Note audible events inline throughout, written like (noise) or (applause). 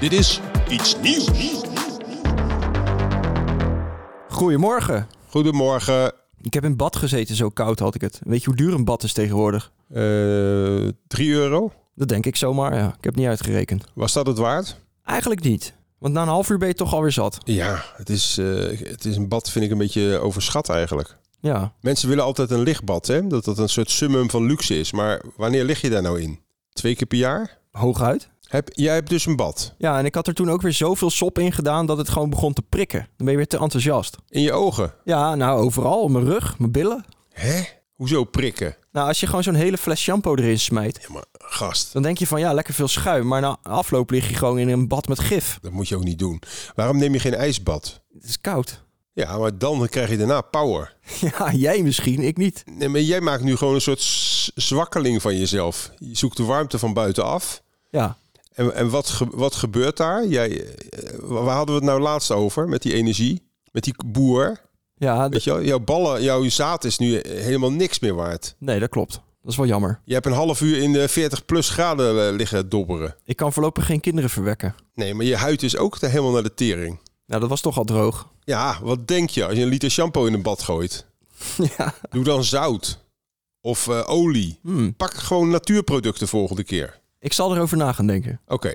Dit is iets nieuws. Goedemorgen. Goedemorgen. Ik heb in bad gezeten, zo koud had ik het. Weet je hoe duur een bad is tegenwoordig? Eh 3 euro. Dat denk ik zomaar, ja. Ik heb niet uitgerekend. Was dat het waard? Eigenlijk niet. Want na een half uur ben je toch alweer zat. Ja, het is, eh, het is een bad vind ik een beetje overschat eigenlijk. Ja. Mensen willen altijd een lichtbad, hè? Dat dat een soort summum van luxe is. Maar wanneer lig je daar nou in? Twee keer per jaar? Hooguit. Heb, jij hebt dus een bad. Ja, en ik had er toen ook weer zoveel sop in gedaan dat het gewoon begon te prikken. Dan ben je weer te enthousiast. In je ogen. Ja, nou overal. Mijn rug, mijn billen. Hè? Hoezo prikken? Nou, als je gewoon zo'n hele fles shampoo erin smijt, Ja, maar gast, dan denk je van ja, lekker veel schuim. Maar na afloop lig je gewoon in een bad met gif. dat moet je ook niet doen. Waarom neem je geen ijsbad? Het is koud. (laughs) Ja, maar dan krijg je daarna power. Ja, jij misschien, ik niet. Nee, maar jij maakt nu gewoon een soort s- zwakkeling van jezelf. Je zoekt de warmte van buitenaf. Ja. En, en wat, ge- wat gebeurt daar? Jij, eh, waar hadden we het nou laatst over met die energie? Met die boer? Ja, d- Weet je wel, jouw ballen, jouw zaad is nu helemaal niks meer waard. nee, dat klopt. Dat is wel jammer. Je hebt een half uur in de 40 plus graden eh, liggen dobberen. Ik kan voorlopig geen kinderen verwekken. Nee, maar je huid is ook te- helemaal naar de tering. Nou, dat was toch al (laughs) droog. Ja, wat denk je als je een liter shampoo in een bad gooit? ja. Doe dan zout of eh, olie. Hmm. Pak gewoon natuurproducten volgende keer. Ik zal erover na gaan denken. Oké.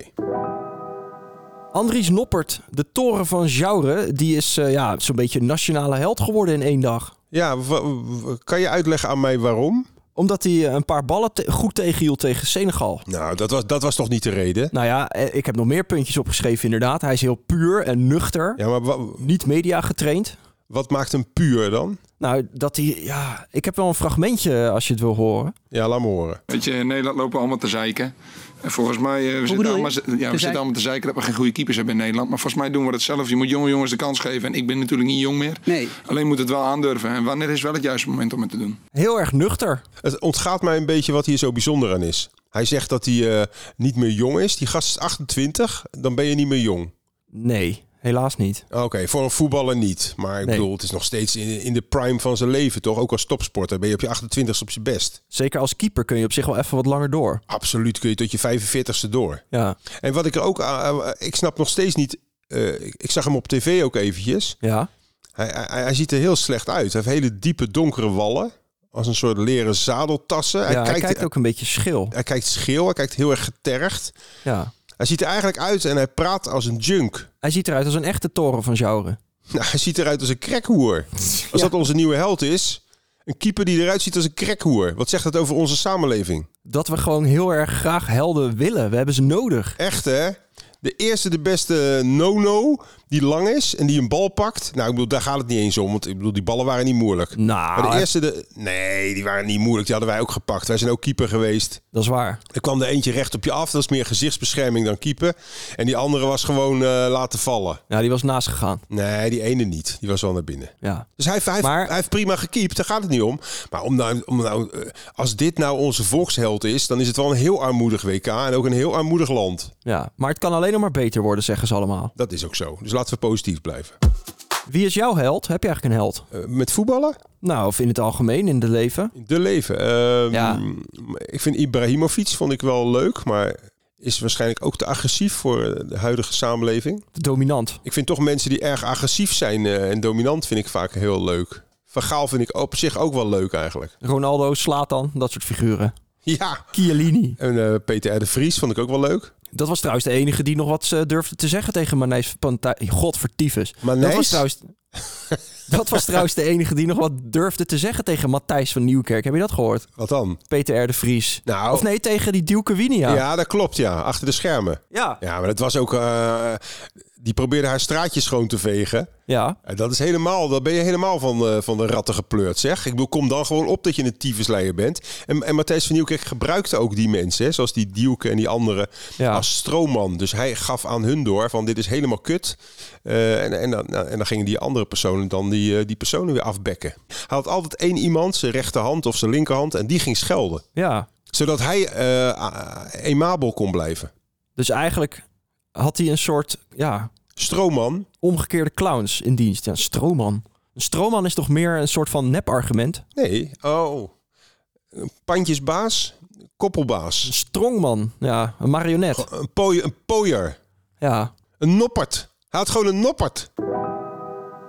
Andries Noppert, de toren van Jouren, die is eh, ja, zo'n beetje een nationale held geworden in één dag. Ja, wa- wa- kan je uitleggen aan mij waarom? Omdat hij eh, een paar ballen te- goed tegenhield tegen Senegal. Nou, dat was, dat was toch niet de reden? Nou ja, eh, ik heb nog meer puntjes opgeschreven inderdaad. Hij is heel puur en nuchter. Ja, maar wa- Niet media getraind. wat maakt hem puur dan? Nou, dat hij... Ja, ik heb wel een fragmentje eh, als je het wil horen. Ja, laat me horen. Weet je, in Nederland lopen we allemaal te zeiken. En volgens mij, eh, we, zitten bedoel je? allemaal, ja, we Te zitten zeiken? allemaal te zeiken dat we geen goede keepers hebben in Nederland. Maar volgens mij doen we dat zelf. Je moet jonge jongens de kans geven. En ik ben natuurlijk niet jong meer. Nee. Alleen moet het wel aandurven. En wanneer is wel het juiste moment om het te doen? Heel erg nuchter. Het ontgaat mij een beetje wat hier zo bijzonder aan is. Hij zegt dat hij eh, niet meer jong is. Die gast is 28, dan ben je niet meer jong. Ah, Nee, helaas niet. Oké, voor een voetballer niet. Maar ik Nee. bedoel, het is nog steeds in, in de prime van zijn leven, toch? Ook als topsporter ben je op je 28ste op je best. Zeker als keeper kun je op zich wel even wat langer door. Absoluut kun je tot je 45ste door. Ja, En wat ik er ook aan, aan- ik snap nog steeds niet. eh, ik, ik zag hem op tv ook eventjes. ja. Hij, hij, hij ziet er heel slecht uit. Hij heeft hele diepe donkere wallen. Als een soort leren zadeltassen. ja Hij, hij kijkt, kijkt ook een beetje schil. hij kijkt scheel, hij kijkt heel erg getergd. Ja. Hij ziet er eigenlijk uit en hij praat als een junk. (laughs) Hij ziet eruit als een echte toren van Jouren. Nou, hij ziet eruit als een krekhoer. Als dat onze nieuwe held is. Een keeper die eruit ziet als een krekhoer. Wat zegt dat over onze samenleving? Dat we gewoon heel erg graag helden willen. We hebben ze nodig. Echt hè? De eerste, de beste no-no die lang is en die een bal pakt. Nou, ik bedoel, daar gaat het niet eens om. Want ik bedoel, die ballen waren niet moeilijk. Maar Nou, de eerste, de... nee, die waren niet moeilijk. Die hadden wij ook gepakt. Wij zijn ook keeper geweest. dat is waar. Er kwam er eentje recht op je af. Dat is meer gezichtsbescherming dan keeper. En die andere was gewoon eh, laten vallen. Ja, die was naast gegaan. Nee, die ene niet. Die was wel naar binnen. Ja. Dus hij, heeft- hij, heeft- Maar- hij heeft prima gekiept, daar gaat het niet om. Maar om nou, om nou, eh, als dit nou onze volksheld is, dan is het wel een heel armoedig WK en ook een heel armoedig land. ja. Maar het kan alleen nog maar beter worden, zeggen ze allemaal. Dat is ook zo. Dus laten we positief blijven. Wie is jouw held? Heb je eigenlijk een held? Eh, met voetballen? Nou, of in het algemeen, in het leven. De leven. Ehm, Ja. Ik vind Ibrahimovic vond ik wel leuk, maar is waarschijnlijk ook te agressief voor eh, de huidige samenleving. De dominant. Ik vind toch mensen die erg agressief zijn eh, en dominant vind ik vaak heel leuk. Van Gaal vind ik op zich ook wel leuk eigenlijk. (laughs) Ronaldo, Slatan, dat soort figuren. Ja. Chiellini. En eh, Peter R. de Vries vond ik ook wel leuk. Dat was trouwens de enige die nog wat eh, durfde te zeggen tegen Manijs van Tij- Godvertiefes. Dat Manijs? was (laughs) trouwens... Dat was trouwens de enige die nog wat durfde te zeggen tegen Matthijs van Nieuwkerk. Heb je dat gehoord? Wat dan? Peter R. de Vries. Nou, Of nee, tegen die Duke Winia. ja. dat klopt, ja. Achter de schermen. Ja. Ja, maar dat was ook... eh, die probeerde haar straatjes schoon te vegen. Ja. En Eh, dat is helemaal... Dan ben je helemaal van, eh, van de ratten gepleurd, zeg. Ik bedoel, kom dan gewoon op dat je een tyfusleier bent. En, en Matthijs van Nieuwkerk gebruikte ook die mensen, hè, zoals die Dielke en die anderen, Ja. als stroomman. Dus hij gaf aan hun door van dit is helemaal kut. Eh, en, en, dan, nou, en dan gingen die andere personen dan die, eh, die personen weer afbekken. Hij had altijd één iemand, zijn rechterhand of zijn linkerhand, en die ging schelden. ja. Zodat hij eh, a- emabel kon blijven. Dus eigenlijk had hij een soort ja, Stroomman. omgekeerde clowns in dienst. Ja, een stroomman. Een stroomman is toch meer een soort van nep-argument? Nee. Oh. Pandjesbaas. Koppelbaas. Een strongman. Ja, een marionet. Een, pooier, een pooier. Ja. Een noppert. Hij had gewoon een noppert.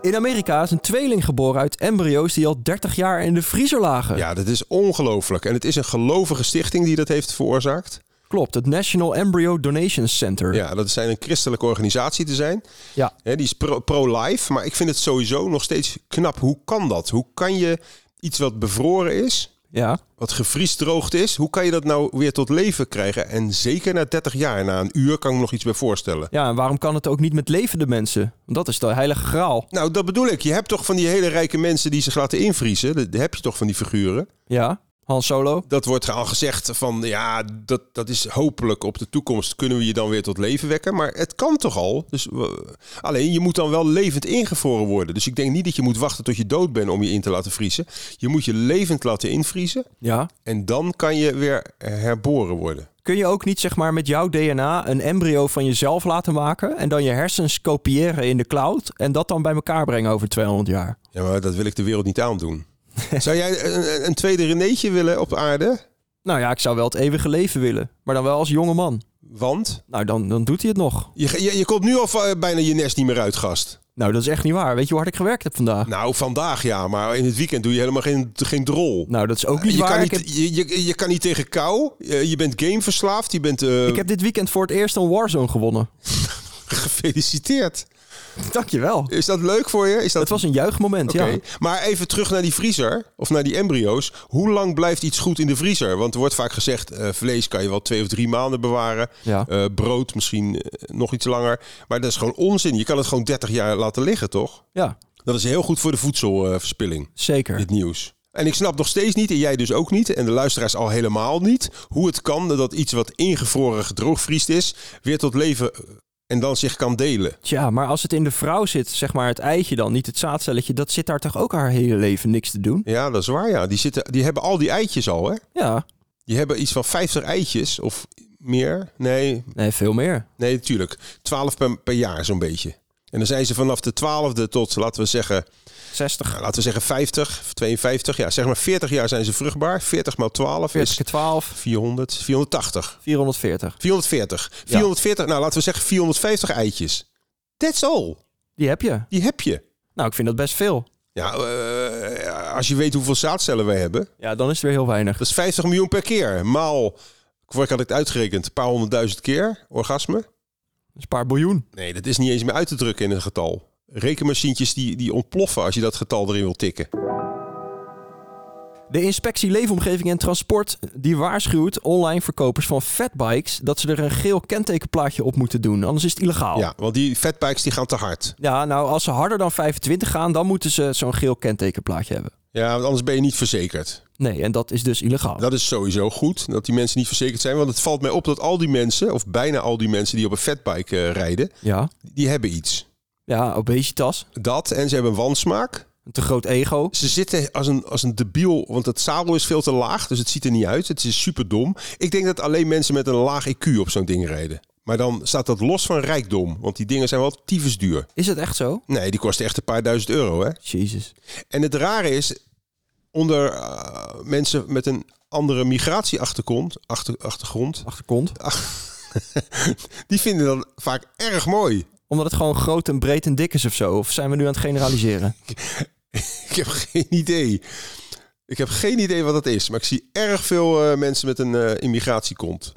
In Amerika is een tweeling geboren uit embryo's die al 30 jaar in de vriezer lagen. Ja, dat is ongelooflijk. En het is een gelovige stichting die dat heeft veroorzaakt. Klopt, het National Embryo Donation Center. Ja, dat zijn een christelijke organisatie te zijn. Ja. Hè, die is pro- pro-life. maar ik vind het sowieso nog steeds knap. Hoe kan dat? Hoe kan je iets wat bevroren is, Ja. wat gevriesdroogd is, hoe kan je dat nou weer tot leven krijgen? En zeker na 30 jaar, na een uur, kan ik me nog iets bij voorstellen. Ja, en waarom kan het ook niet met levende mensen? Want dat is de heilige graal. Nou, dat bedoel ik. Je hebt toch van die hele rijke mensen die zich laten invriezen. Dat heb je toch van die figuren. Ja, Han Solo. Dat wordt al gezegd van ja, dat, dat is hopelijk op de toekomst kunnen we je dan weer tot leven wekken. Maar het kan toch al? Dus, we- alleen je moet dan wel levend ingevroren worden. Dus ik denk niet dat je moet wachten tot je dood bent om je in te laten vriezen. Je moet je levend laten invriezen Ja. en dan kan je weer herboren worden. Kun je ook niet zeg maar met jouw DNA een embryo van jezelf laten maken en dan je hersens kopiëren in de cloud en dat dan bij elkaar brengen over 200 jaar? Ja, maar dat wil ik de wereld niet aandoen. Zou jij een, een- een tweede Renéetje willen op aarde? Nou ja, ik zou wel het eeuwige leven willen, maar dan wel als jonge man. Want Nou, dan, dan doet hij het nog. je, je, je komt nu al va- bijna je nest niet meer uit, gast. Nou, dat is echt niet waar. Weet je hoe hard ik gewerkt heb vandaag? Nou, vandaag ja, maar in het weekend doe je helemaal geen, geen drol. Nou, dat is ook niet Je waar. kan Ik, niet, heb, je, je, je kan niet tegen kou. Je, je bent gameverslaafd. Je bent eh, ik heb dit weekend voor het eerst een Warzone gewonnen. (laughs) gefeliciteerd. Dankjewel. Is dat leuk voor je? Is dat... Het was een juichmoment, Oké. ja. Maar even terug naar die vriezer. Of naar die embryo's. Hoe lang blijft iets goed in de vriezer? Want er wordt vaak gezegd, eh, vlees kan je wel twee of drie maanden bewaren. Ja. Eh, brood misschien eh, nog iets langer. Maar dat is gewoon onzin. Je kan het gewoon 30 jaar laten liggen, toch? Ja, Dat is heel goed voor de voedselverspilling. zeker. dit nieuws. En ik snap nog steeds niet, en jij dus ook niet, en de luisteraars al helemaal niet, hoe het kan dat iets wat ingevroren gedroogvriest is, weer tot leven eh, en dan zich kan delen. Tja, maar als het in de vrouw zit, zeg maar het eitje dan, niet het zaadcelletje, dat zit daar toch ook haar hele leven niks te doen? Ja, dat is waar, ja. Die, zitten, die hebben al die eitjes al, hè? Ja, Die hebben iets van 50 eitjes of meer. Nee, nee, veel meer. nee, natuurlijk. 12 per, per jaar zo'n beetje. En dan zijn ze vanaf de 12e tot, laten we zeggen, 60, nou, laten we zeggen 50, 52, ja, zeg maar 40 jaar zijn ze vruchtbaar. 40 maal 12 40 is keer 12, 400, 480. 440. 440. Ja. 440, nou laten we zeggen 450 eitjes. That's all. Die heb je. Die heb je. Nou, ik vind dat best veel. Ja, eh, als je weet hoeveel zaadcellen wij hebben, Ja, dan is het weer heel weinig. dat is 50 miljoen per keer. Maal, vorige had ik het uitgerekend, een paar honderdduizend keer orgasme. Dat is een paar biljoen. Nee, dat is niet eens meer uit te drukken in een getal. Rekenmachientjes die, die ontploffen als je dat getal erin wil tikken. De inspectie Leefomgeving en Transport die waarschuwt online verkopers van fatbikes dat ze er een geel kentekenplaatje op moeten doen, anders is het illegaal. Ja, want die fatbikes die gaan te hard. Ja, nou, als ze harder dan 25 gaan, dan moeten ze zo'n geel kentekenplaatje hebben. Ja, want anders ben je niet verzekerd. Nee, en dat is dus illegaal. Dat is sowieso goed, dat die mensen niet verzekerd zijn. Want het valt mij op dat al die mensen, of bijna al die mensen die op een fatbike eh, rijden, Ja. die hebben iets. Ja, obesitas. Dat en ze hebben een wansmaak. Een te groot ego. Ze zitten als een, als een debiel, want het zadel is veel te laag, dus het ziet er niet uit. Het is super dom. Ik denk dat alleen mensen met een laag IQ op zo'n ding rijden. Maar dan staat dat los van rijkdom, want die dingen zijn wel tyfus duur. Is het echt zo? Nee, die kosten echt een paar duizend euro. Hè? Jezus. En het rare is, onder eh, mensen met een andere migratieachtergrond, achter, achtergrond, Achterkont. die vinden dat vaak erg mooi. Omdat het gewoon groot en breed en dik is of zo. Of zijn we nu aan het generaliseren? Ik heb geen idee. Ik heb geen idee wat dat is, maar ik zie erg veel eh, mensen met een eh, immigratiekont.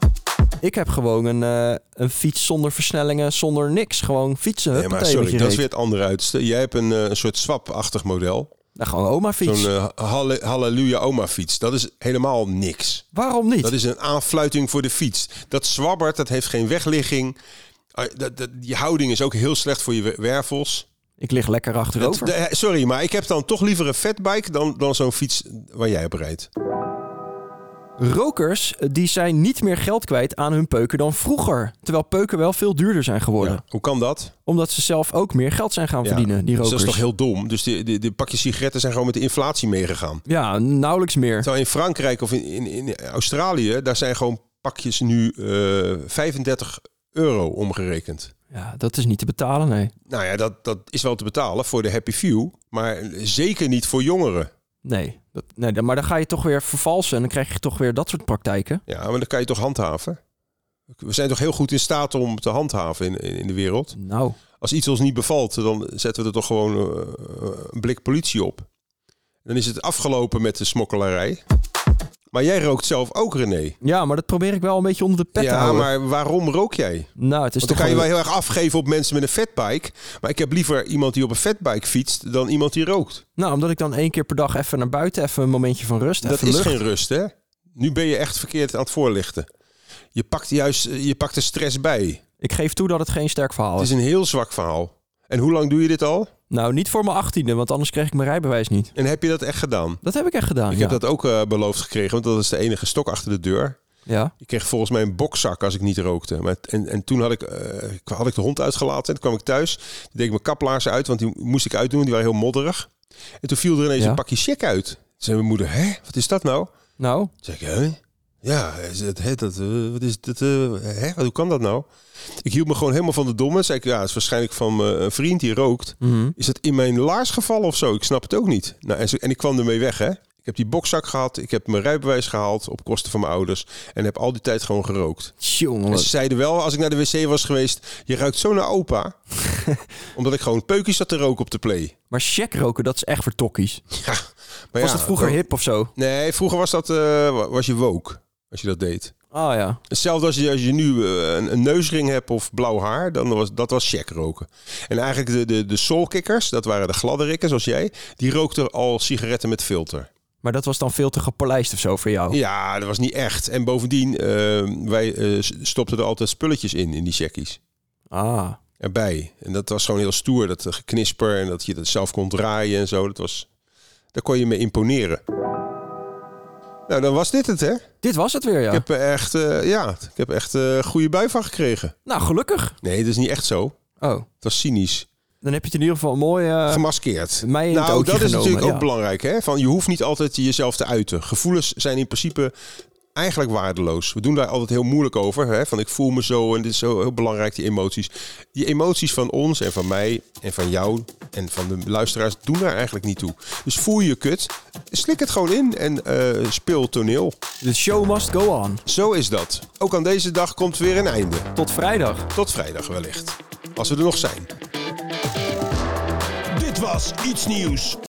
Ik heb gewoon een, eh, een fiets zonder versnellingen, zonder niks. Gewoon fietsen. Nee, maar huppatee, met sorry, je dat is weer reet. het andere uiterste. Jij hebt een, eh, een soort swap-achtig model. Nou, gewoon oma Zo'n fiets. eh, halle- halleluja oma fiets. Dat is helemaal niks. Waarom niet? Dat is een aanfluiting voor de fiets. Dat zwabbert, dat heeft geen wegligging. Ah, dat, dat, die houding is ook heel slecht voor je wer- wervels. Ik lig lekker achterover. Dat- eh, sorry, maar ik heb dan toch liever een fatbike dan, dan zo'n fiets waar jij op rijdt. Rokers eh, die zijn niet meer geld kwijt aan hun peuken dan vroeger. Terwijl peuken wel veel duurder zijn geworden. Ja, hoe kan dat? Omdat ze zelf ook meer geld zijn gaan Ja, verdienen, die dus rokers. dat is toch heel dom. Dus de, de, de pakjes sigaretten zijn gewoon met de inflatie meegegaan. Ja, nauwelijks meer. Terwijl in Frankrijk of in, in, in Australië, daar zijn gewoon pakjes nu eh, 35 euro omgerekend. Ja, dat is niet te betalen, nee. Nou ja, dat, dat is wel te betalen voor de happy few, maar zeker niet voor jongeren. Nee, dat, nee, dan- maar dan ga je toch weer vervalsen en dan krijg je toch weer dat soort praktijken. Ja, maar dan kan je toch handhaven? We zijn toch heel goed in staat om te handhaven in, in, in de wereld. Nou, Als iets ons niet bevalt, dan zetten we er toch gewoon eh, een blik politie op. Dan is het afgelopen met de smokkelarij. Maar jij rookt zelf ook, René. ja, maar dat probeer ik wel een beetje onder de pet te ja, houden. maar waarom rook jij? Nou, het is Want dan toch kan je wel gewoon- heel erg afgeven op mensen met een fatbike. Maar ik heb liever iemand die op een fatbike fietst dan iemand die rookt. Nou, omdat ik dan één keer per dag even naar buiten, even een momentje van rust, Dat even is lucht. geen rust, hè? Nu ben je echt verkeerd aan het voorlichten. Je pakt juist eh, je pakt de stress bij. Ik geef toe dat het geen sterk verhaal Het is. is een heel zwak verhaal. En hoe lang doe je dit al? Nou, niet voor mijn achttiende, want anders kreeg ik mijn rijbewijs niet. En heb je dat echt gedaan? Dat heb ik echt gedaan, Ik ja. heb dat ook eh, beloofd gekregen, want dat is de enige stok achter de deur. ja. Ik kreeg volgens mij een bokzak als ik niet rookte. Maar, het- en, en toen had ik, eh, ik- had ik de hond uitgelaten. En toen kwam ik thuis. Toen deed ik mijn kaplaarzen uit, want die moest ik uitdoen. Die waren heel modderig. En toen viel er ineens Ja. een pakje check uit. Toen zei mijn moeder, hè, wat is dat nou? Toen Nou, zei ik, hè? Ja, is het, hè, dat, eh, wat is dat, eh, hè? Hoe kan dat nou? Ik hield me gewoon helemaal van de domme. Zei ik, ja, het is waarschijnlijk van eh, een vriend die rookt. mhm. Is dat in mijn laars gevallen of zo? Ik snap het ook niet. Nou, en, zo- en ik kwam ermee weg, hè? Ik heb die bokzak gehad, ik heb mijn rijbewijs gehaald op kosten van mijn ouders en heb al die tijd gewoon gerookt. jongen. En ze zeiden wel, als ik naar de wc was geweest, je ruikt zo naar opa. (laughs) Omdat ik gewoon peukjes zat te roken op de play. Maar check roken, dat is echt voor tokkies. Ja, maar Was ja, dat vroeger dan- hip of zo? Nee, vroeger was dat, eh, wa- was je woke, als je dat deed. Ah ja. Hetzelfde als je, als je nu eh, een, een neusring hebt of blauw haar, dan was dat was check roken. En eigenlijk de, de, de soulkickers, dat waren de gladde rikkers als jij, die rookten al sigaretten met filter. Maar dat was dan veel te gepolijst of zo voor jou. Ja, dat was niet echt. En bovendien, eh, wij eh, s- stopten er altijd spulletjes in, in die checkies. Ah. Erbij. En dat was gewoon heel stoer, dat eh, geknisper en dat je dat zelf kon draaien en zo. Dat was, daar kon je mee imponeren. Nou, dan was dit het, hè? Dit was het weer, ja. Ik heb eh, echt, eh, ja, ik heb echt eh goede bui van gekregen. Nou, gelukkig. Nee, dat is niet echt zo. Oh. Het was cynisch. Dan heb je het in ieder geval mooi... eh, Gemaskeerd. mij in het nou, ootje dat is genomen, natuurlijk ook ja. belangrijk. Hè? Van, je hoeft niet altijd jezelf te uiten. Gevoelens zijn in principe eigenlijk waardeloos. We doen daar altijd heel moeilijk over. Hè? Van ik voel me zo en dit is zo heel belangrijk, die emoties. Die emoties van ons en van mij en van jou en van de luisteraars doen daar eigenlijk niet toe. Dus voel je kut, slik het gewoon in en eh, speel toneel. The show must go on. Zo is dat. Ook aan deze dag komt weer een einde. Tot vrijdag. Tot vrijdag wellicht. Als we er nog zijn. Dit was Iets Nieuws.